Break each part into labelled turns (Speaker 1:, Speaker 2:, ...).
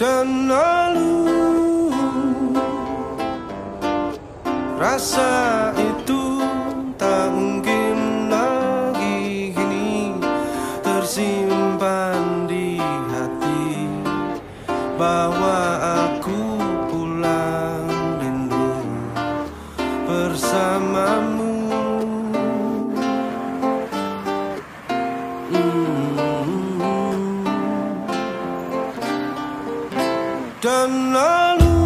Speaker 1: dan lalu Rasa itu tak mungkin lagi kini Tersimpan di hati Bahwa aku pulang rindu bersamamu Mm. dan lalu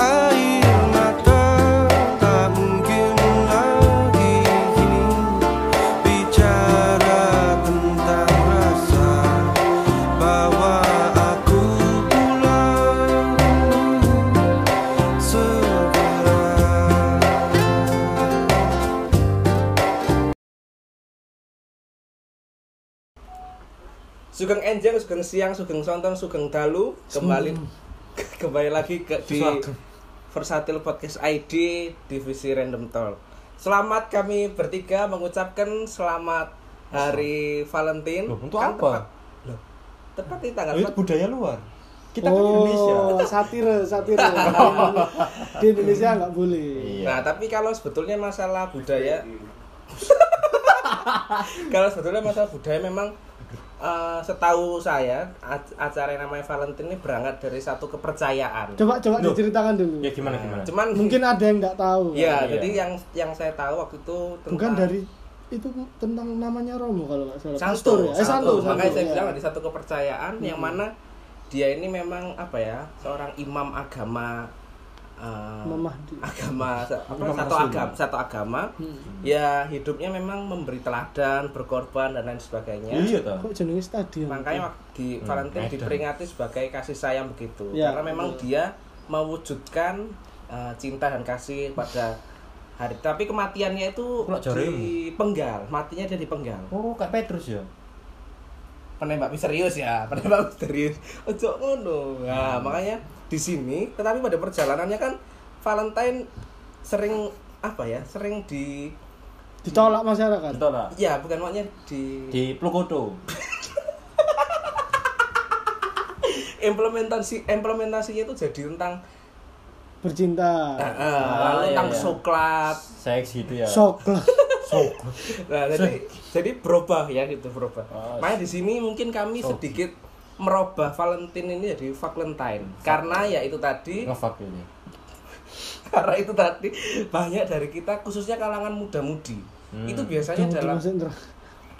Speaker 1: air mata tak mungkin lagi kini bicara tentang rasa bahwa aku pulang segera.
Speaker 2: Sugeng Enjang, Sugeng Siang, Sugeng Sonton, Sugeng Dalu kembali kembali lagi ke di
Speaker 3: Sesuatu.
Speaker 2: Versatil Podcast ID divisi Random Talk. Selamat kami bertiga mengucapkan selamat Hari Valentine. Kan
Speaker 3: Loh, untuk apa?
Speaker 2: tepat- loh, tepat di tanggal
Speaker 3: itu budaya luar. Kita kan Indonesia.
Speaker 4: Oh, satire, satire. Di Indonesia nggak boleh.
Speaker 2: Nah, tapi kalau sebetulnya masalah budaya Kalau sebetulnya masalah budaya memang eh, setahu saya ac- acara yang namanya Valentine ini berangkat dari satu kepercayaan.
Speaker 4: Coba coba
Speaker 3: Loh.
Speaker 4: diceritakan dulu.
Speaker 3: Ya gimana gimana?
Speaker 2: Cuman
Speaker 4: Mungkin ada yang nggak tahu.
Speaker 2: ya,
Speaker 3: Iya.
Speaker 2: jadi yang yang saya tahu waktu itu tentang
Speaker 4: Bukan dari itu tentang namanya Romo kalau nggak salah. Pastor
Speaker 2: Santo,
Speaker 4: ya? Eh, Santo, Santo,
Speaker 2: Makanya saya
Speaker 4: ya.
Speaker 2: bilang ada satu kepercayaan yang mana dia ini memang apa ya, seorang imam agama eh,
Speaker 4: Imam Mahdi.
Speaker 2: agama sa- apa,
Speaker 3: Imam
Speaker 2: satu
Speaker 3: Rasul.
Speaker 2: agama satu agama
Speaker 4: Hmm.
Speaker 2: ya hidupnya memang memberi teladan berkorban dan lain sebagainya
Speaker 3: Iya toh.
Speaker 4: Kok jenenge
Speaker 3: Iya.
Speaker 4: stadion?
Speaker 2: makanya waktu di
Speaker 3: Hmm,
Speaker 2: Valentine
Speaker 3: edan.
Speaker 2: diperingati sebagai kasih sayang begitu
Speaker 4: Ya,
Speaker 2: karena memang dia mewujudkan uh, cinta dan kasih pada hari tapi kematiannya itu
Speaker 3: Kulak jarimu.
Speaker 2: di penggal matinya dia di penggal
Speaker 3: Oh, Kak Petrus ya.
Speaker 2: penembak misterius ya penembak misterius ojo ngono nah
Speaker 3: Hmm.
Speaker 2: makanya di sini tetapi pada perjalanannya kan Valentine sering apa ya sering di
Speaker 4: ditolak masyarakat.
Speaker 3: Betul lah.
Speaker 2: ya bukan maknya di
Speaker 3: Di Plokoto.
Speaker 2: implementasi implementasinya itu jadi tentang
Speaker 4: Bercinta.
Speaker 2: Ah, iya. ah, lalu
Speaker 3: iya,
Speaker 2: tentang
Speaker 3: iya.
Speaker 2: coklat
Speaker 3: Seks gitu ya.
Speaker 4: Sok lah.
Speaker 3: Sok.
Speaker 2: nah, jadi jadi berubah ya gitu berubah
Speaker 3: Oh,
Speaker 2: makanya di sini mungkin kami sedikit merubah Valentine ini jadi Valentine karena ya itu tadi
Speaker 3: Ngefuck ini.
Speaker 2: karena itu tadi banyak dari kita khususnya kalangan muda-mudi itu biasanya
Speaker 4: Jangan
Speaker 2: dalam
Speaker 4: dimasukin neraka.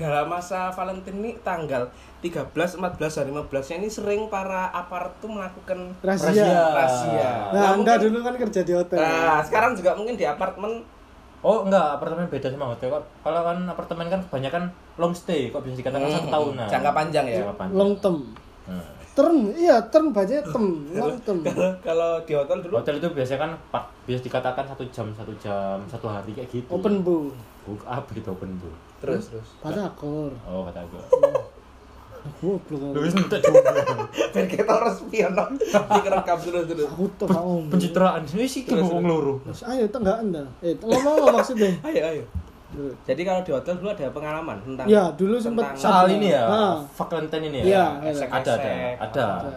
Speaker 2: dalam masa Valentine ini tanggal 13, 14, dan 15 nya ini sering para apart tuh melakukan
Speaker 4: Razia.
Speaker 2: rahasia.
Speaker 4: Nah, Anda
Speaker 2: mungkin-
Speaker 4: dulu kan kerja di hotel.
Speaker 2: Nah, sekarang juga mungkin di apartemen
Speaker 3: Oh enggak, apartemen beda sama hotel kok. Kalau kan apartemen kan kebanyakan long stay, kok bisa dikatakan satu tahunan.
Speaker 2: jangka panjang ya.
Speaker 3: Hmm. Jangka panjang.
Speaker 4: Long term.
Speaker 3: Nah.
Speaker 4: Term, iya term bacanya term, long term.
Speaker 2: Kalau- kalau di hotel dulu
Speaker 3: Hotel itu biasanya kan empat- biasa dikatakan satu jam, satu jam, satu hari kayak gitu.
Speaker 4: Open book.
Speaker 3: Book up gitu open book.
Speaker 2: terus terus
Speaker 4: Batakor.
Speaker 3: Oh kata gue.
Speaker 4: Hmm. Goblok.
Speaker 3: Lewis entek juga.
Speaker 2: biar kita ya, harus piono Ini rekam terus terus
Speaker 4: Aku tuh gak ngomong.
Speaker 3: Pencitraan sih sih
Speaker 2: Terus,
Speaker 3: bohong loro.
Speaker 4: Terus, Ayo tenggak anda. Eh ngomong apa maksudnya?
Speaker 2: ayo ayo
Speaker 4: Terus.
Speaker 2: jadi kalau di hotel dulu ada pengalaman tentang
Speaker 4: Ya, dulu sempet
Speaker 2: tentang-
Speaker 3: soal ini ya
Speaker 4: Ah.
Speaker 3: Valentine ini ya,
Speaker 4: Iya, ada.
Speaker 3: ada ada
Speaker 2: Esek.
Speaker 3: ada
Speaker 4: Ada.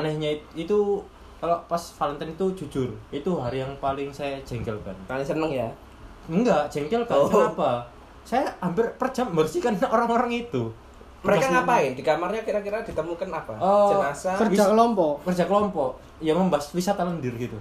Speaker 3: anehnya it- itu kalau pas Valentine itu jujur itu hari yang paling saya jengkelkan
Speaker 2: paling seneng ya
Speaker 3: enggak jengkelkan
Speaker 2: Oh.
Speaker 3: kenapa saya hampir per jam membersihkan orang-orang itu
Speaker 2: mereka ngapain di kamarnya kira-kira ditemukan apa
Speaker 3: Oh,
Speaker 2: jenazah
Speaker 4: Kerja
Speaker 3: Wis-
Speaker 4: kelompok.
Speaker 3: kerja kelompok ya membahas wisata lendir gitu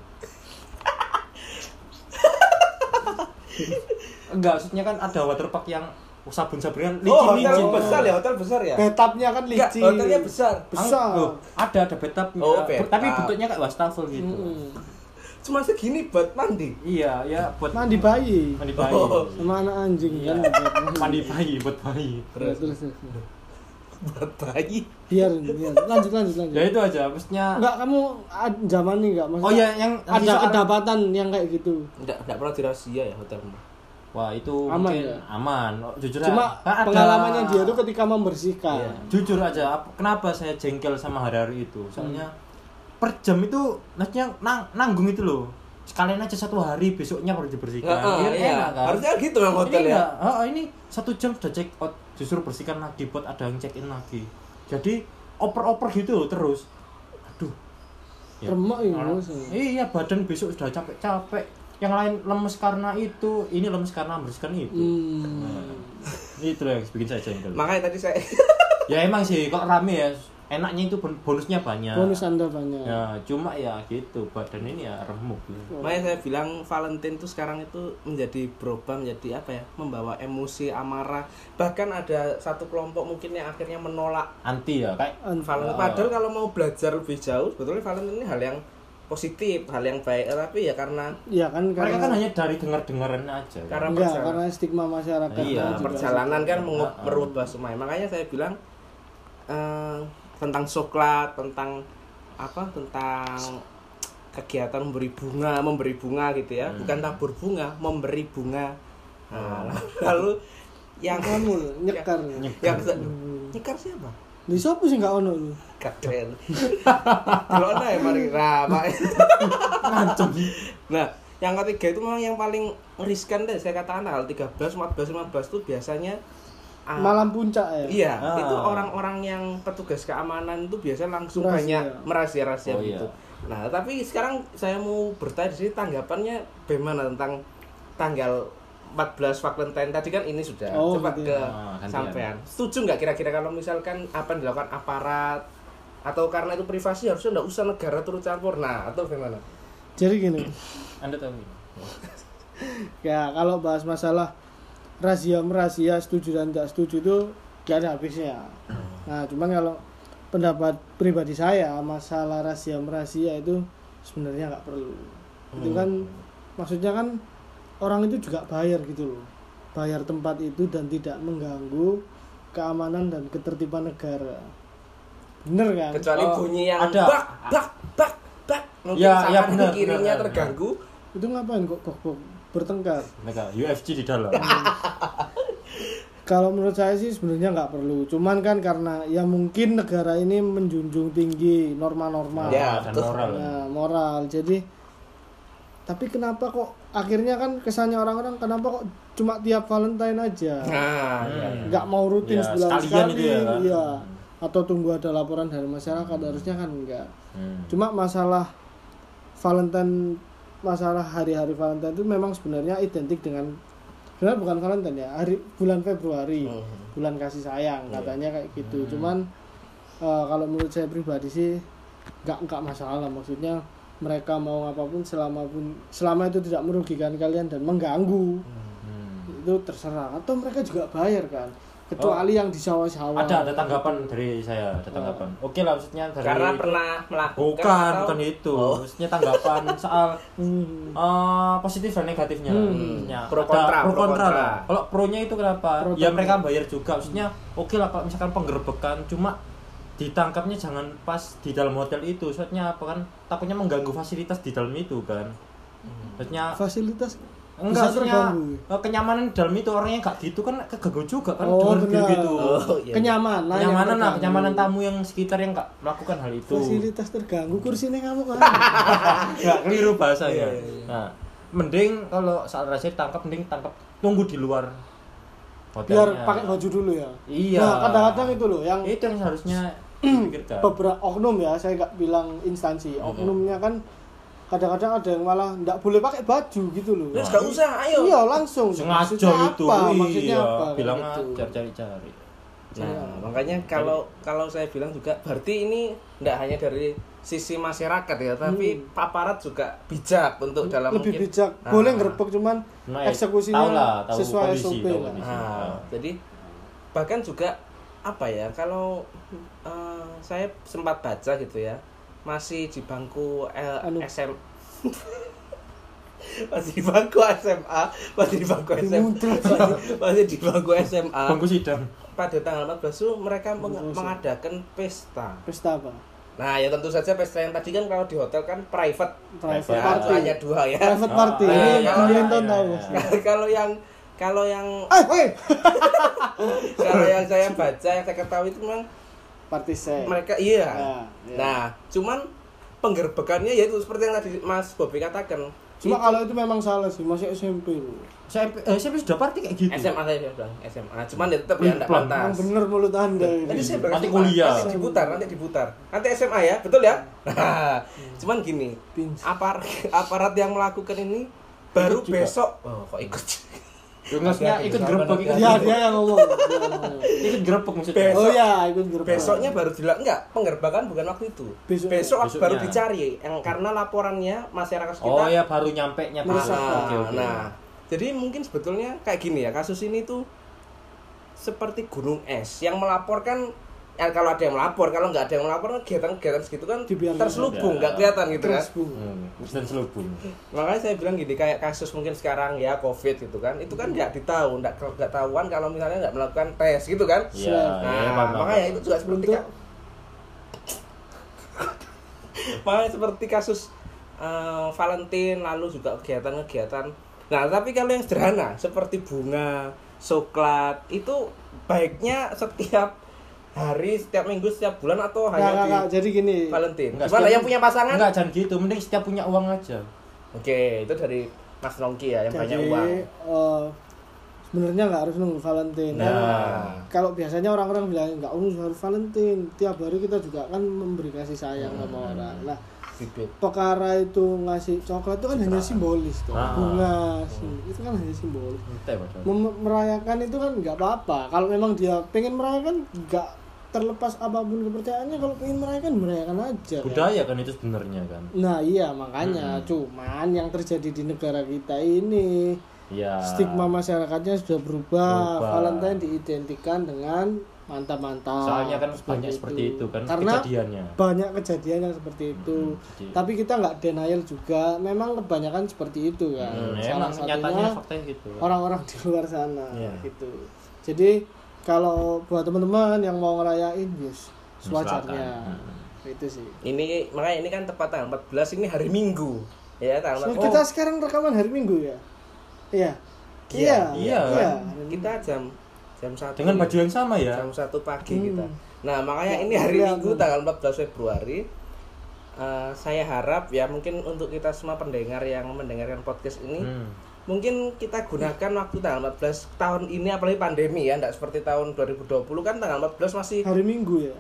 Speaker 3: enggak maksudnya kan ada waterpark yang sabun-sabunan
Speaker 2: oh hotel
Speaker 3: licin-licin
Speaker 2: besar ya hotel besar ya
Speaker 4: Betapnya kan
Speaker 2: Enggak,
Speaker 4: licin.
Speaker 2: hotelnya besar
Speaker 4: Besar.
Speaker 3: Loh, ada ada bathtub
Speaker 2: Oh,
Speaker 3: ya,
Speaker 2: bathtub. Hmm.
Speaker 3: tapi bentuknya kayak wastafel gitu
Speaker 4: Mm-mm.
Speaker 2: cuma segini buat mandi
Speaker 3: iya ya buat
Speaker 4: Mandi bayi.
Speaker 3: mandi bayi
Speaker 2: Oh.
Speaker 4: Sama anak anjing
Speaker 2: Iya.
Speaker 4: kan.
Speaker 3: mandi bayi buat bayi
Speaker 4: Ya, Terus. terus.
Speaker 2: buat bayi
Speaker 4: Biar, biar. Lanjut, lanjut,
Speaker 3: ya
Speaker 4: lanjut.
Speaker 3: itu aja maksudnya
Speaker 4: Enggak, kamu ad- zaman nih enggak
Speaker 3: oh ya yang nanti
Speaker 4: ada
Speaker 3: soal-
Speaker 4: kedapatan yang kayak gitu.
Speaker 2: enggak enggak pernah dirahasia ya hotelmu
Speaker 3: wah itu
Speaker 4: Aman
Speaker 3: mungkin
Speaker 4: ya?
Speaker 3: aman Oh, jujur
Speaker 4: Cuma
Speaker 3: aja. Ah, ada-
Speaker 4: pengalamannya dia tuh ketika membersihkan.
Speaker 3: Iya. jujur aja ap- kenapa saya jengkel sama hari-hari itu soalnya per jam itu maksudnya nang- nanggung itu loh sekalian aja satu hari besoknya baru dibersihkan
Speaker 2: Heeh,
Speaker 3: Iya,
Speaker 2: iya.
Speaker 3: enak kan?
Speaker 2: Harusnya gitu memang hotel ya.
Speaker 3: ini enggak. Heeh, ini satu jam sudah check out justru bersihkan lagi buat ada yang check in lagi jadi oper-oper gitu loh terus aduh Ya.
Speaker 4: Remuk ya,
Speaker 3: Orang-
Speaker 4: bos.
Speaker 3: iya badan besok sudah capek-capek yang lain lemes karena itu ini lemes karena ambles karena itu
Speaker 4: Hmm.
Speaker 3: itu yang bikin saya jengkel
Speaker 2: Makanya tadi saya
Speaker 3: ya emang sih kok rame ya enaknya itu bon- bonusnya banyak
Speaker 4: Bonus anda banyak.
Speaker 3: ya cuma ya gitu badan ini ya remuk gitu.
Speaker 2: Makanya saya bilang Valentine tuh sekarang itu menjadi berubah menjadi apa ya? Membawa emosi, amarah. Bahkan ada satu kelompok mungkin yang akhirnya menolak
Speaker 3: anti ya kayak
Speaker 2: Valentine. Padahal kalau mau belajar lebih jauh, sebetulnya Valentine ini hal yang positif, hal yang baik. Tapi ya karena
Speaker 4: Iya kan
Speaker 3: mereka
Speaker 4: karena
Speaker 3: kan hanya dari dengar-dengaran aja kan?
Speaker 2: karena
Speaker 4: enggak,
Speaker 2: perjalanan,
Speaker 4: karena stigma masyarakat.
Speaker 3: Iya,
Speaker 4: juga.
Speaker 2: perjalanan kan mengu-
Speaker 3: Ah, ah.
Speaker 2: merubah semua. Makanya saya bilang eh, tentang coklat, tentang apa? Tentang kegiatan memberi bunga, memberi bunga gitu
Speaker 3: Hmm.
Speaker 2: ya. Bukan tabur bunga, memberi bunga.
Speaker 3: Oh.
Speaker 2: Nah, lalu yang
Speaker 4: Kamu nyekar.
Speaker 3: Iya.
Speaker 2: yang nyekar siapa?
Speaker 4: Di sopo sih enggak ono lu.
Speaker 2: Keren. Delokno ya mari Nah, Pak.
Speaker 3: ngancem
Speaker 2: Nah, yang ketiga itu memang yang paling riskan deh. Saya katakan tanggal 13, 14, 15 itu biasanya ah,
Speaker 4: Malam puncak ya.
Speaker 2: Iya,
Speaker 3: Ah.
Speaker 2: itu orang-orang yang petugas keamanan itu biasa langsung
Speaker 4: Rahasia.
Speaker 2: banyak merahasia-rahasia
Speaker 3: Oh,
Speaker 2: gitu.
Speaker 3: iya.
Speaker 2: Nah, tapi sekarang saya mau bertanya di sini tanggapannya bagaimana tentang tanggal 14 Valentine tadi kan ini sudah
Speaker 4: Oh,
Speaker 2: coba
Speaker 4: gitu
Speaker 2: ke
Speaker 4: ya.
Speaker 3: Ah, gantian.
Speaker 2: sampean. Setuju nggak kira-kira kalau misalkan apa yang dilakukan aparat atau karena itu privasi harusnya nggak usah negara turut campur. Nah, atau bagaimana?
Speaker 4: Jadi gini.
Speaker 3: anda tahu ini?
Speaker 4: Ya, kalau bahas masalah rahasia merahasia setuju dan tidak setuju itu gak ada habisnya. Nah, cuman kalau pendapat pribadi saya masalah rahasia merahasia itu sebenarnya nggak perlu. Itu kan maksudnya kan orang itu juga bayar gitu loh. Bayar tempat itu dan tidak mengganggu keamanan dan ketertiban negara. Bener kan?
Speaker 2: kecuali
Speaker 3: Oh,
Speaker 2: bunyi yang
Speaker 3: ada.
Speaker 2: bak bak bak bak mungkin kanan
Speaker 3: Ya, ya, benar,
Speaker 2: kirinya
Speaker 3: benar,
Speaker 2: terganggu
Speaker 4: Itu ngapain kok bok-bok bertengkar?
Speaker 3: mereka UFC di dalam
Speaker 4: Kalau menurut saya sih sebenarnya nggak perlu. Cuman kan karena ya mungkin negara ini menjunjung tinggi norma-norma
Speaker 2: Ya,
Speaker 3: dan
Speaker 2: betul.
Speaker 3: moral
Speaker 4: Nah, moral. Jadi tapi kenapa kok akhirnya kan kesannya orang-orang kenapa kok cuma tiap Valentine aja
Speaker 2: nah ya.
Speaker 3: Hmm.
Speaker 4: nggak mau
Speaker 3: Ya,
Speaker 4: rutin sebulan
Speaker 3: sekalian
Speaker 4: sekali,
Speaker 3: itu ya, kan?
Speaker 4: iya. Atau tunggu ada laporan dari masyarakat harusnya kan enggak.
Speaker 3: Hmm.
Speaker 4: Cuma masalah Valentine masalah hari-hari Valentine itu memang sebenarnya identik dengan sebenarnya bukan Valentine ya, hari bulan Februari,
Speaker 2: Hmm.
Speaker 4: bulan
Speaker 3: Iya.
Speaker 4: kasih sayang katanya kayak gitu.
Speaker 3: Hmm.
Speaker 4: Cuman eh, kalau menurut saya pribadi sih nggak nggak masalah maksudnya mereka mau apapun selama pun selama itu tidak merugikan kalian dan mengganggu
Speaker 3: Hmm. Oh.
Speaker 4: itu terserah atau mereka juga bayar kan kecuali yang di sawah-sawah
Speaker 3: ada ada tanggapan dari saya ada tanggapan
Speaker 4: Oh.
Speaker 3: oke lah maksudnya dari
Speaker 2: karena pernah melakukan
Speaker 3: bukan
Speaker 2: atau-
Speaker 3: bukan itu
Speaker 2: kan Oh.
Speaker 3: maksudnya tanggapan soal
Speaker 4: Hmm.
Speaker 3: eh, positif dan negatifnya lah. Maksudnya
Speaker 2: Pro
Speaker 3: ada
Speaker 2: kontra,
Speaker 3: pro
Speaker 2: pro
Speaker 3: kontra
Speaker 2: kontra.
Speaker 3: lah. kalau pro nya itu kenapa
Speaker 4: Pro
Speaker 3: ya
Speaker 4: kontra.
Speaker 3: mereka bayar juga maksudnya oke lah kalau misalkan penggerbekan cuma ditangkapnya jangan pas di dalam hotel itu soalnya apa kan takutnya mengganggu fasilitas di dalam itu kan maksudnya
Speaker 4: fasilitas
Speaker 3: Enggak,
Speaker 4: bisa
Speaker 3: maksudnya
Speaker 4: terganggu.
Speaker 3: eh, kenyamanan di dalam itu orangnya gak gitu kan keganggu juga kan
Speaker 4: Oh,
Speaker 3: dengan
Speaker 4: benar.
Speaker 3: gitu.
Speaker 2: oh, iya.
Speaker 4: kenyamanan yang
Speaker 3: kenyamanan lah,
Speaker 4: terganggu.
Speaker 3: kenyamanan tamu yang sekitar yang gak melakukan hal itu.
Speaker 4: fasilitas terganggu kursinya kamu kan
Speaker 3: Gak keliru bahasanya.
Speaker 2: Iya, iya, iya.
Speaker 3: Nah, mending kalau saat rahasia tangkap mending tangkap tunggu di luar
Speaker 4: biar
Speaker 3: hotelnya.
Speaker 4: pakai baju dulu ya
Speaker 3: Iya.
Speaker 4: nah kadang-kadang itu loh yang
Speaker 3: Itu yang seharusnya dipikirkan.
Speaker 4: beberapa oknum ya saya nggak bilang instansi oknumnya kan kadang-kadang ada yang malah nggak boleh pakai baju gitu loh
Speaker 2: terus nggak Ya, usah ayo
Speaker 4: iya langsung
Speaker 3: Sengaja
Speaker 4: Maksudnya
Speaker 3: itu.
Speaker 4: apa? maksudnya
Speaker 3: iya,
Speaker 4: apa Kayak
Speaker 3: bilang
Speaker 4: gitu.
Speaker 3: aja cari-cari.
Speaker 2: nah makanya
Speaker 3: Iya.
Speaker 2: kalau kalau saya bilang juga berarti ini tidak hanya dari sisi masyarakat ya tapi aparat juga bijak untuk dalam
Speaker 4: Hmm. lebih
Speaker 2: mungkin-
Speaker 4: bijak
Speaker 2: Nah.
Speaker 4: boleh ngerebek cuman
Speaker 3: Nah,
Speaker 4: eksekusinya
Speaker 3: tahu lah, tahu
Speaker 4: sesuai
Speaker 3: kondisi,
Speaker 4: SOP
Speaker 3: tahu
Speaker 4: lah.
Speaker 3: kondisi.
Speaker 2: Nah, jadi bahkan juga apa ya kalau eh, saya sempat baca gitu ya masih di bangku eh, L-
Speaker 4: Anu.
Speaker 2: SM masih di bangku SMA masih di bangku SMA masih, masih di bangku SMA
Speaker 4: Ah.
Speaker 3: Bangku sidang.
Speaker 2: pada tanggal 14 itu mereka meng- mengadakan pesta
Speaker 4: pesta apa
Speaker 2: nah ya tentu saja pesta yang tadi kan kalau di hotel kan private
Speaker 4: private
Speaker 2: ya,
Speaker 4: party
Speaker 2: hanya dua ya
Speaker 4: private party
Speaker 2: iya,
Speaker 4: ini
Speaker 2: iya, iya,
Speaker 4: kalian tahu
Speaker 3: Oh, iya,
Speaker 4: tahu
Speaker 3: iya.
Speaker 4: pasti.
Speaker 2: kalau yang kalau yang
Speaker 4: eh eh
Speaker 2: kalau yang saya baca yang saya ketahui itu memang
Speaker 4: party saya
Speaker 2: mereka iya.
Speaker 4: Eh. Nah, iya.
Speaker 2: ya Nah, cuman penggerbekannya yaitu seperti yang tadi Mas Bobi katakan
Speaker 4: Cuma kalau itu memang salah sih, masih SMP loh.
Speaker 3: saya eh, saya sudah party kayak gitu
Speaker 2: SMA saya bilang SMA cuman ya tetap ya enggak
Speaker 3: Pelan.
Speaker 4: Emang
Speaker 2: pantas
Speaker 4: bener mulut anda
Speaker 2: Tadi
Speaker 4: ini.
Speaker 2: saya bilang
Speaker 3: Nanti
Speaker 2: SMA,
Speaker 3: kuliah.
Speaker 2: nanti diputar, nanti diputar. Nanti SMA ya, betul ya? Cuman gini,
Speaker 4: Pins.
Speaker 2: apar aparat yang melakukan ini baru
Speaker 3: juga.
Speaker 2: besok. Oh, kok ikut?
Speaker 3: Ya, maksudnya
Speaker 2: Hati-hati,
Speaker 3: ikut
Speaker 2: jangan
Speaker 3: gerbek ikut
Speaker 2: hati-hati.
Speaker 4: Ya
Speaker 3: gerbek.
Speaker 4: dia yang ngomong. Dia yang ngomong.
Speaker 3: ikut gerbek maksudnya
Speaker 2: Besok.
Speaker 4: Oh ya, ikut gerbang.
Speaker 2: Besoknya baru dilakukan enggak? Penggerbakan bukan waktu itu.
Speaker 4: Besok.
Speaker 2: Besok, baru
Speaker 3: Besoknya.
Speaker 2: dicari yang karena laporannya masyarakat sekitar.
Speaker 3: oh ya baru nyampe nya
Speaker 2: Nah,
Speaker 4: Merusak.
Speaker 3: oke oke
Speaker 2: nah, jadi mungkin sebetulnya kayak gini ya, kasus ini tuh seperti gunung es yang melaporkan ya kalau ada yang melapor, kalau nggak ada yang melapor kegiatan-kegiatan segitu kan
Speaker 4: Dibiarkan
Speaker 2: terselubung,
Speaker 3: saja.
Speaker 2: nggak kelihatan gitu kan.
Speaker 4: Terus bu.
Speaker 3: Hmm, dan selubung
Speaker 2: makanya saya bilang gini kayak kasus mungkin sekarang ya covid gitu kan itu kan nggak ditahu nggak nggak tahuan kalau misalnya nggak melakukan tes gitu kan
Speaker 3: Iya,
Speaker 4: Nah,
Speaker 3: iya,
Speaker 2: nah
Speaker 3: paham, paham.
Speaker 2: makanya itu juga seperti
Speaker 4: Untuk-
Speaker 2: ka- makanya seperti kasus eh, Valentine lalu juga kegiatan-kegiatan nah tapi kalau yang sederhana seperti bunga coklat itu baiknya setiap hari setiap minggu setiap bulan atau
Speaker 4: Nah,
Speaker 2: hanya di
Speaker 4: kakak, jadi gini.
Speaker 2: Valentine
Speaker 3: Enggak,
Speaker 2: gimana
Speaker 3: setiap-
Speaker 2: yang punya pasangan
Speaker 3: enggak jangan gitu mending setiap punya uang aja
Speaker 2: oke itu dari Mas Nongki ya yang
Speaker 4: Jadi
Speaker 2: banyak uang
Speaker 4: eh, sebenarnya nggak harus nunggu Valentine.
Speaker 2: Nah.
Speaker 4: Kalau biasanya orang-orang bilang nggak harus harus Valentine, tiap hari kita juga kan memberi kasih sayang sama
Speaker 2: Hmm.
Speaker 4: orang. Nah,
Speaker 2: bibit
Speaker 4: perkara itu ngasih coklat itu kan hanya simbolis tuh.
Speaker 3: Ah.
Speaker 4: Bunga sih, itu kan hanya simbolis.
Speaker 3: Entah, Mas.
Speaker 4: Mem- merayakan itu kan nggak apa-apa kalau memang dia pengen merayakan nggak terlepas apapun kepercayaannya kalau pengen merayakan merayakan aja kan.
Speaker 3: budaya Hmm. kan itu sebenarnya kan
Speaker 4: nah iya makanya cuman yang terjadi di negara kita ini
Speaker 3: ya
Speaker 4: stigma masyarakatnya sudah berubah.
Speaker 3: Berubah.
Speaker 4: Valentine diidentikan dengan mantap-mantap
Speaker 3: soalnya kan
Speaker 4: Oh, seperti
Speaker 3: banyak seperti itu kan
Speaker 4: karena
Speaker 3: kejadiannya
Speaker 4: banyak kejadian yang seperti itu
Speaker 3: Hmm, jadi-
Speaker 4: tapi kita nggak denial juga memang kebanyakan seperti itu kan
Speaker 3: Hmm,
Speaker 4: salah
Speaker 3: emang nyatanya
Speaker 4: satunya
Speaker 3: faktanya gitu
Speaker 4: orang-orang di luar sana
Speaker 3: Iya.
Speaker 4: gitu. Jadi kalau buat teman-teman yang mau ngerayain yes,
Speaker 3: Silakan.
Speaker 4: sewajarnya. Itu sih.
Speaker 2: ini makanya ini kan tepat tanggal 14 ini hari Minggu ya tanggal 14.
Speaker 4: So, Nah, kita
Speaker 2: Oh,
Speaker 4: sekarang rekaman hari Minggu ya. Iya.
Speaker 2: Iya,
Speaker 3: iya.
Speaker 2: kita jam jam satu
Speaker 3: dengan baju yang sama ya
Speaker 2: jam satu pagi
Speaker 4: Hmm.
Speaker 2: kita nah makanya
Speaker 4: Ya,
Speaker 2: ini hari
Speaker 4: iya,
Speaker 2: Minggu
Speaker 4: bener.
Speaker 2: tanggal 14 Februari Eh, saya harap ya mungkin untuk kita semua pendengar yang mendengarkan podcast ini
Speaker 3: Hmm.
Speaker 2: mungkin kita gunakan waktu tanggal 14 tahun ini apalagi pandemi ya tidak seperti tahun 2020 kan tanggal 14 masih
Speaker 4: Hari Minggu ya.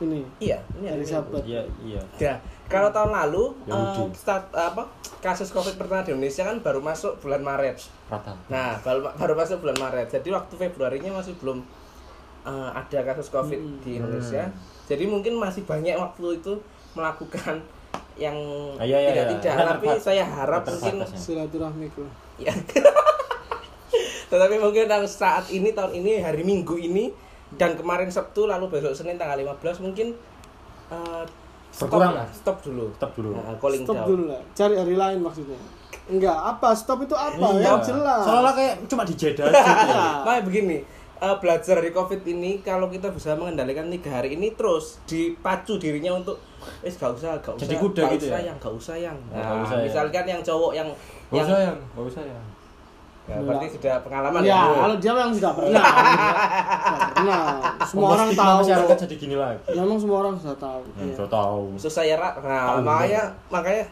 Speaker 4: Ini
Speaker 2: iya ini hari
Speaker 4: hari
Speaker 2: Minggu.
Speaker 4: Sabat.
Speaker 3: iya iya
Speaker 2: Ya, kalau tahun lalu
Speaker 3: Yahudi.
Speaker 2: eh, start- apa kasus Covid pertama di Indonesia kan baru masuk bulan Maret.
Speaker 3: rata
Speaker 2: Nah, baru, baru masuk bulan Maret. Jadi waktu Februarinya masih belum eh, ada kasus Covid
Speaker 3: Hmm.
Speaker 2: di Indonesia. Jadi mungkin masih banyak waktu itu melakukan yang
Speaker 3: Ah, iya, iya,
Speaker 2: tidak
Speaker 3: iya.
Speaker 2: tidak.
Speaker 3: Yang
Speaker 2: Tapi
Speaker 3: terbatas-
Speaker 2: saya harap mungkin
Speaker 3: terbatasnya.
Speaker 4: silaturahmi ke.
Speaker 2: ya. Tetapi mungkin yang saat ini tahun ini hari Minggu ini dan kemarin Sabtu lalu besok Senin tanggal 15 mungkin eh, stop
Speaker 3: Berkurang
Speaker 2: lah,
Speaker 3: lah.
Speaker 2: stop dulu.
Speaker 3: Stop dulu.
Speaker 4: Ya,
Speaker 2: Nah, calling
Speaker 4: Stop
Speaker 2: down.
Speaker 4: dulu lah. Cari hari lain maksudnya. Enggak, apa stop itu apa?
Speaker 3: Iya.
Speaker 4: Yang jelas. Iya.
Speaker 3: seolah kayak cuma di jeda aja gitu
Speaker 2: Makanya begini, eh, belajar dari covid ini kalau kita bisa mengendalikan tiga hari ini terus dipacu dirinya untuk wis gak usah gak usah
Speaker 3: Jadi kuda
Speaker 2: gak
Speaker 3: gitu
Speaker 2: usah
Speaker 3: ya?
Speaker 2: yang gak usah yang
Speaker 3: Oh,
Speaker 2: nah,
Speaker 3: gak usah ya.
Speaker 2: misalkan yang cowok yang
Speaker 3: Gak
Speaker 2: yang
Speaker 3: usah Iya, yang, gak usah yang.
Speaker 2: Ya, berarti sudah pengalaman
Speaker 4: Ya,
Speaker 2: Bu?
Speaker 4: kalau dia memang sudah pernah. Sudah pernah. Semua
Speaker 3: Membuat
Speaker 4: orang
Speaker 3: stigma
Speaker 4: tahu.
Speaker 3: masyarakat jadi gini lagi.
Speaker 4: Memang semua orang sudah tahu.
Speaker 3: Hmm,
Speaker 4: Iya.
Speaker 3: Sudah tahu.
Speaker 2: susah ya Ra. nah
Speaker 3: Tahu,
Speaker 2: makanya makanya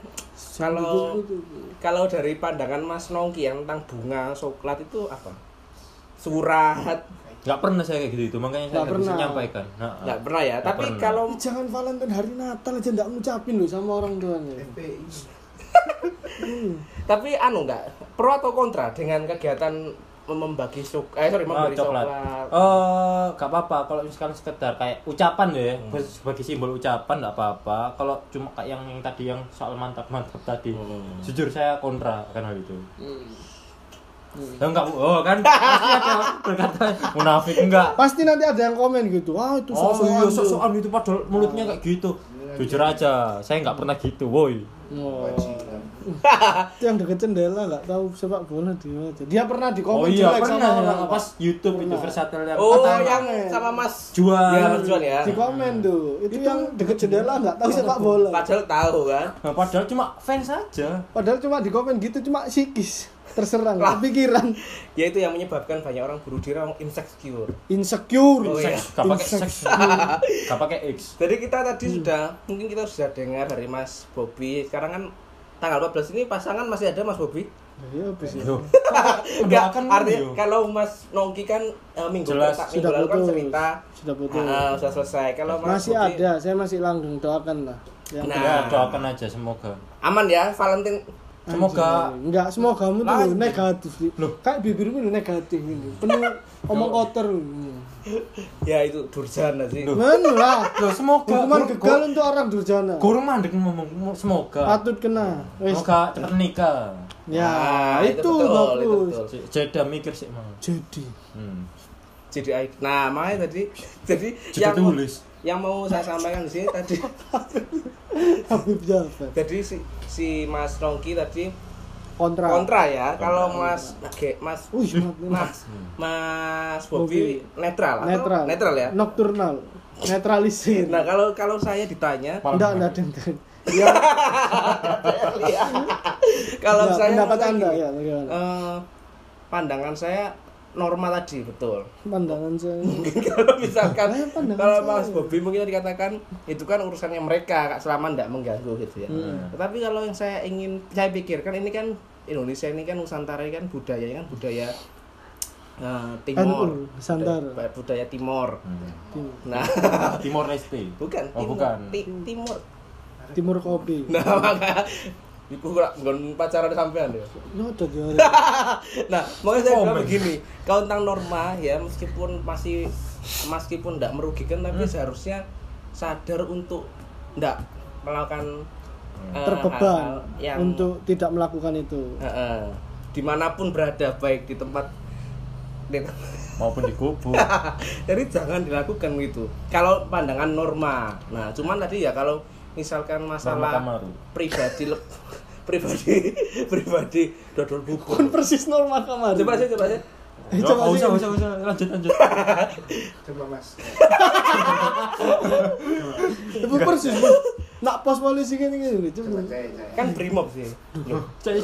Speaker 2: kalau
Speaker 4: Gitu-gitu.
Speaker 2: kalau dari pandangan Mas Nongki yang tentang bunga coklat itu apa surat
Speaker 3: Gak pernah saya kayak gitu itu, makanya saya
Speaker 4: Nggak
Speaker 3: gak bisa
Speaker 4: pernah.
Speaker 3: nyampaikan. Nah,
Speaker 2: nggak pernah ya
Speaker 3: Nggak
Speaker 2: tapi
Speaker 3: pernah.
Speaker 2: kalau
Speaker 4: Tapi jangan Valentine hari Natal aja nggak ngucapin loh sama orang tuanya.
Speaker 2: Tapi anu enggak pro atau kontra dengan kegiatan mem- membagi sok eh sorry
Speaker 3: Oh,
Speaker 2: memberi
Speaker 3: coklat.
Speaker 2: coklat.
Speaker 3: Eh, gak apa-apa kalau misalkan sekedar kayak ucapan ya,
Speaker 4: Hmm.
Speaker 3: sebagai simbol ucapan gak apa-apa. Kalau cuma kayak yang, yang tadi yang soal mantap-mantap tadi,
Speaker 2: Hmm.
Speaker 3: jujur saya kontra akan hal itu.
Speaker 4: Hmm.
Speaker 3: Ya enggak, oh kan pasti ada berkata munafik enggak.
Speaker 4: Pasti nanti ada yang komen gitu. Wah, itu
Speaker 3: Oh
Speaker 4: sok-sokan
Speaker 3: iya
Speaker 4: tuh." Hmm. Iya,
Speaker 3: sok-sokan itu padahal mulutnya kayak gitu. Jujur aja, saya nggak pernah gitu, woi.
Speaker 4: Oh. Itu yang deket jendela nggak tahu sepak bola dia aja. Dia pernah di
Speaker 3: Oh
Speaker 4: komen
Speaker 3: iya
Speaker 4: jelek sama
Speaker 3: pernah
Speaker 4: orang.
Speaker 3: pas YouTube itu
Speaker 4: Pernah. iya.
Speaker 3: versatile yang
Speaker 2: Oh,
Speaker 3: pertama.
Speaker 2: yang
Speaker 4: tangan.
Speaker 2: sama Mas
Speaker 3: Jual.
Speaker 2: Yang Mas Juan ya.
Speaker 4: Di komen tuh. Itu, yang deket jendela nggak tahu sepak bola.
Speaker 2: Padahal tahu kan.
Speaker 3: Nah, padahal cuma fans saja.
Speaker 4: Padahal cuma di komen gitu cuma psikis terserang
Speaker 2: Lah.
Speaker 4: pikiran
Speaker 2: Ya itu yang menyebabkan banyak orang bunuh diri orang insecure.
Speaker 4: insecure.
Speaker 2: Oh, iya.
Speaker 3: Seks, gak pakai seks. Gak pakai X.
Speaker 2: Jadi kita tadi sudah mungkin kita sudah dengar dari Mas Bobby. Sekarang kan tanggal 14 ini pasangan masih ada Mas Bobi?
Speaker 4: Ya, habis itu.
Speaker 3: Loh,
Speaker 2: Enggak,
Speaker 3: kan
Speaker 2: artinya
Speaker 3: yo.
Speaker 2: kalau Mas Nongki kan eh, minggu
Speaker 3: Jelas,
Speaker 2: perta- minggu
Speaker 4: Sudah
Speaker 2: lalu kan
Speaker 4: putus.
Speaker 2: cerita
Speaker 4: Sudah putus.
Speaker 2: ah, sudah selesai. Kalau Mas
Speaker 4: Masih
Speaker 2: Bobi-
Speaker 4: ada, saya masih langgeng doakan lah. Ya.
Speaker 2: Nah.
Speaker 3: ya doakan aja semoga
Speaker 2: aman ya Valentine
Speaker 3: semoga
Speaker 4: Anjing. enggak semua kamu tuh
Speaker 2: Lanjut.
Speaker 4: negatif loh kayak bibirmu tuh negatif ini penuh omong kotor
Speaker 2: ya itu durjana sih.
Speaker 3: Duh.
Speaker 4: mana lah
Speaker 3: Loh, semoga
Speaker 4: hukuman
Speaker 3: Guru-
Speaker 4: gagal untuk orang durjana
Speaker 3: guru mandek ngomong semoga
Speaker 4: patut kena wis
Speaker 3: semoga cepat nikah
Speaker 4: ya
Speaker 2: Nah,
Speaker 4: itu,
Speaker 2: betul, itu
Speaker 4: bagus
Speaker 2: betul.
Speaker 3: J- jeda mikir sih mau
Speaker 4: jadi
Speaker 3: hmm.
Speaker 2: Jadi ai- nah makanya tadi jadi
Speaker 3: jeda
Speaker 2: mau-
Speaker 3: tulis
Speaker 2: yang mau saya sampaikan di sini tadi
Speaker 4: Habib Jafar
Speaker 2: jadi si, si Mas Rongki tadi
Speaker 4: kontra
Speaker 2: kontra ya kalau Mas Ge- Mas
Speaker 4: Wih, mantap.
Speaker 2: Mas hmm. Mas Bobi
Speaker 4: Bobi.
Speaker 2: netral atau
Speaker 4: netral
Speaker 2: netral ya
Speaker 4: nocturnal netralisir
Speaker 2: nah kalau kalau saya ditanya
Speaker 3: Malam
Speaker 4: enggak
Speaker 3: hari.
Speaker 4: enggak dengar ya
Speaker 2: kalau
Speaker 4: ya,
Speaker 2: saya
Speaker 4: pendapat
Speaker 2: saya
Speaker 4: anda
Speaker 2: gini,
Speaker 4: ya bagaimana
Speaker 2: eh, pandangan saya norma tadi betul
Speaker 4: pandangan saya
Speaker 2: kalau misalkan
Speaker 4: Eh, pandangan
Speaker 2: kalau
Speaker 4: saya.
Speaker 2: Mas Bobi mungkin dikatakan itu kan urusannya mereka Kak, selama tidak mengganggu gitu ya
Speaker 4: Hmm.
Speaker 2: tetapi kalau yang saya ingin saya pikirkan ini kan Indonesia ini kan Nusantara ini kan budaya ini kan budaya eh, Timor
Speaker 4: NU, Nusantara.
Speaker 2: budaya, eh, budaya Timor
Speaker 3: Hmm.
Speaker 2: nah
Speaker 3: Timor Leste
Speaker 2: bukan
Speaker 3: Oh,
Speaker 2: Timor
Speaker 3: bukan.
Speaker 2: Ti- Timor
Speaker 4: timur kopi
Speaker 2: nah maka Iku kurang nggon pacaran sampean ya.
Speaker 4: ya udah dia
Speaker 2: Nah, makanya saya bilang
Speaker 3: Komen.
Speaker 2: begini, kalau tentang norma ya meskipun masih meskipun tidak merugikan tapi seharusnya sadar untuk tidak melakukan eh,
Speaker 4: terbeban
Speaker 2: hal-hal yang
Speaker 4: untuk tidak melakukan itu
Speaker 2: eh, eh, dimanapun berada baik di tempat di tem-
Speaker 3: maupun di kubu
Speaker 2: jadi jangan dilakukan gitu. Kalau pandangan norma. Nah, cuman tadi ya kalau misalkan
Speaker 3: sama
Speaker 2: masalah
Speaker 3: kamar
Speaker 2: pribadi lep- pribadi pribadi dodol bubur.
Speaker 4: Kan persis normal kamar.
Speaker 2: Coba sih, coba sih.
Speaker 4: Eh,
Speaker 3: Ya,
Speaker 4: coba
Speaker 3: nggak
Speaker 4: sih.
Speaker 3: usah, usah, usah. lanjut lanjut
Speaker 5: coba mas
Speaker 4: Itu persis. Bos. Nak pos polisi gini gini. Coba.
Speaker 5: coba saya saya
Speaker 2: Kan brimob sih.
Speaker 3: cari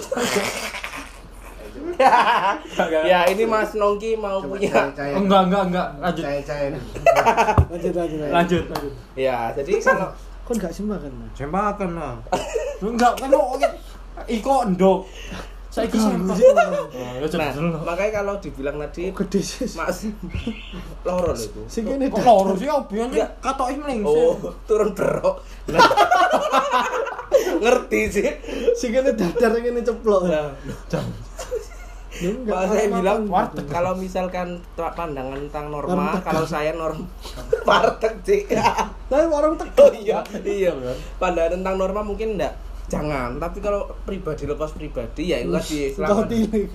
Speaker 2: ya ini Mas Nongki mau
Speaker 5: coba
Speaker 2: punya
Speaker 5: saya saya
Speaker 3: enggak enggak enggak lanjut
Speaker 5: saya saya
Speaker 4: Lanjut lanjut. lanjut.
Speaker 3: lanjut lanjut
Speaker 2: ya jadi kalau
Speaker 4: Kon gak sembah kan? Mas?
Speaker 3: saya makan lah enggak kan lo iko endok saya
Speaker 4: Ganggu
Speaker 3: kisah
Speaker 4: sih.
Speaker 3: ya
Speaker 2: nah
Speaker 3: coba dulu
Speaker 2: makanya kalau dibilang tadi
Speaker 4: Gede sih.
Speaker 2: Mas loro lho itu
Speaker 4: Oh, Sing ini
Speaker 3: kok
Speaker 4: dah.
Speaker 3: loro sih obian
Speaker 2: Enggak.
Speaker 3: katoke
Speaker 2: oh
Speaker 3: mlengsek
Speaker 2: turun berok Nah. ngerti sih
Speaker 4: Sing ini dadar sing ini ceplok.
Speaker 2: nah,
Speaker 4: Lu nggak
Speaker 2: kalau saya
Speaker 4: makan
Speaker 2: bilang
Speaker 4: apa-apa.
Speaker 2: warteg kalau misalkan tra- pandangan tentang norma
Speaker 4: Warteg.
Speaker 2: kalau saya norm warteg sih
Speaker 4: Tapi warung
Speaker 2: oh
Speaker 4: teko.
Speaker 2: iya iya pandangan tentang norma mungkin enggak jangan tapi kalau pribadi lepas pribadi ya itu tadi
Speaker 4: Kau
Speaker 2: selama-
Speaker 4: tilik.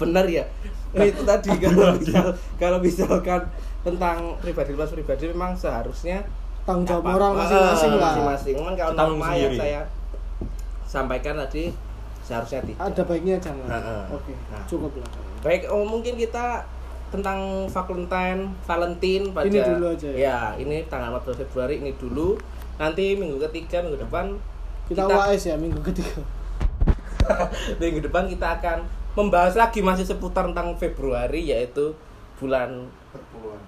Speaker 2: bener ya Nah, itu tadi kalau misal- kalau misalkan tentang pribadi lepas pribadi memang seharusnya
Speaker 4: Tanggung jawab
Speaker 2: apa-
Speaker 4: orang
Speaker 2: eh,
Speaker 4: masing-masing lah.
Speaker 2: masing-masing Cuman kalau
Speaker 3: Tanggung
Speaker 2: norma yang
Speaker 3: sendiri.
Speaker 2: saya sampaikan tadi seharusnya tidak
Speaker 4: Ada baiknya jangan.
Speaker 2: Heeh.
Speaker 4: Oke,
Speaker 2: Nah.
Speaker 4: cukup lah.
Speaker 2: baik oh, mungkin kita tentang Valentine Valentine pada
Speaker 4: Ini dulu aja ya?
Speaker 2: ya. ini tanggal 14 Februari ini dulu nanti minggu ketiga minggu depan
Speaker 4: Kita UAS ya minggu ketiga.
Speaker 2: minggu depan kita akan membahas lagi masih seputar tentang Februari yaitu bulan
Speaker 5: perpuluhan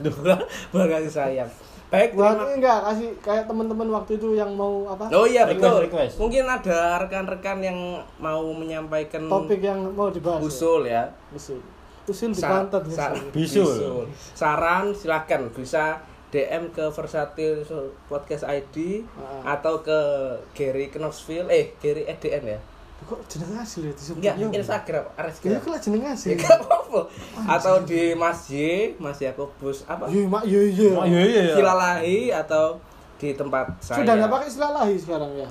Speaker 2: bulan bulan kasih sayang baik terima
Speaker 4: Berarti enggak kasih kayak teman-teman waktu itu yang mau apa?
Speaker 2: oh iya
Speaker 3: Request,
Speaker 2: betul
Speaker 3: request.
Speaker 2: mungkin ada rekan-rekan yang mau menyampaikan
Speaker 4: Topik yang mau dibahas. ya?
Speaker 2: usul ya
Speaker 4: Usul. Usul di
Speaker 2: Sa-
Speaker 4: pantat.
Speaker 2: sa-
Speaker 4: biasanya.
Speaker 3: Bisul.
Speaker 2: bisul. saran silakan bisa DM ke Versatil Podcast ID
Speaker 4: Ah.
Speaker 2: atau ke Gary Knoxville eh Gary EDN ya
Speaker 4: Kok jeneng asli ya disebut?
Speaker 2: enggak
Speaker 4: Ya,
Speaker 2: Instagram
Speaker 4: Ya
Speaker 2: Instagram
Speaker 4: kok lah jeneng
Speaker 2: Ya,
Speaker 4: asli.
Speaker 2: nggak apa-apa. atau di Mas Y Mas Yakobus apa
Speaker 4: Yo mak yo yo.
Speaker 3: Oh iya iya iya.
Speaker 2: Silalahi atau di tempat saya
Speaker 4: Sudah nggak pakai istilah lahi sekarang ya.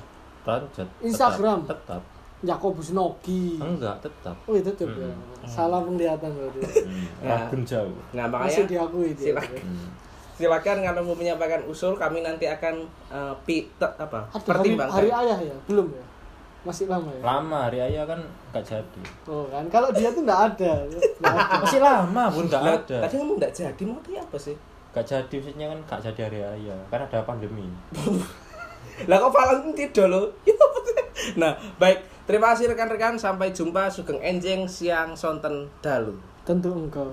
Speaker 3: Lanjut.
Speaker 4: Instagram.
Speaker 3: Tetap. tetap.
Speaker 4: Yakobus Noki.
Speaker 2: Hmm.
Speaker 3: Enggak, tetap.
Speaker 4: Oh itu tuh. ya. Salah penglihatan berarti.
Speaker 2: Nah.
Speaker 3: Ragun Hmm, jauh.
Speaker 2: nah
Speaker 4: Masih
Speaker 2: makanya
Speaker 4: diakui dia.
Speaker 2: silakan
Speaker 3: Hmm.
Speaker 2: silakan kalau mau menyampaikan usul kami nanti akan eh, pi, te- apa
Speaker 4: Aduh, hari, hari
Speaker 2: pertimbangkan
Speaker 4: ayah ya? Belum ya? Masih lama ya?
Speaker 3: Lama hari ayah kan enggak jadi.
Speaker 4: Oh kan, kalau dia tuh nggak ada. Nggak ada.
Speaker 3: Masih lama pun enggak
Speaker 2: Nah,
Speaker 3: ada.
Speaker 2: tadi ngomong nggak Ah. jadi mau tanya apa sih
Speaker 3: Enggak jadi maksudnya kan enggak jadi hari ayah karena ada pandemi.
Speaker 2: lah kok Valentine tidak lo nah baik terima kasih rekan-rekan sampai jumpa sugeng enjing siang sonten dalu
Speaker 4: Tentu engkau.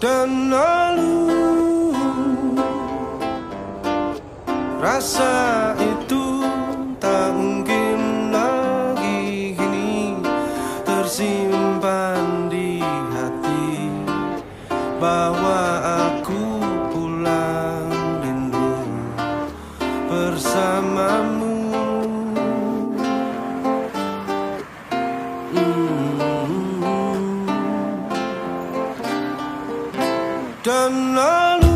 Speaker 1: dan lalu Rasa itu tak mungkin lagi kini Tersimpan di hati Bahwa aku pulang rindu bersamamu Hmm. Mm. Dan lalu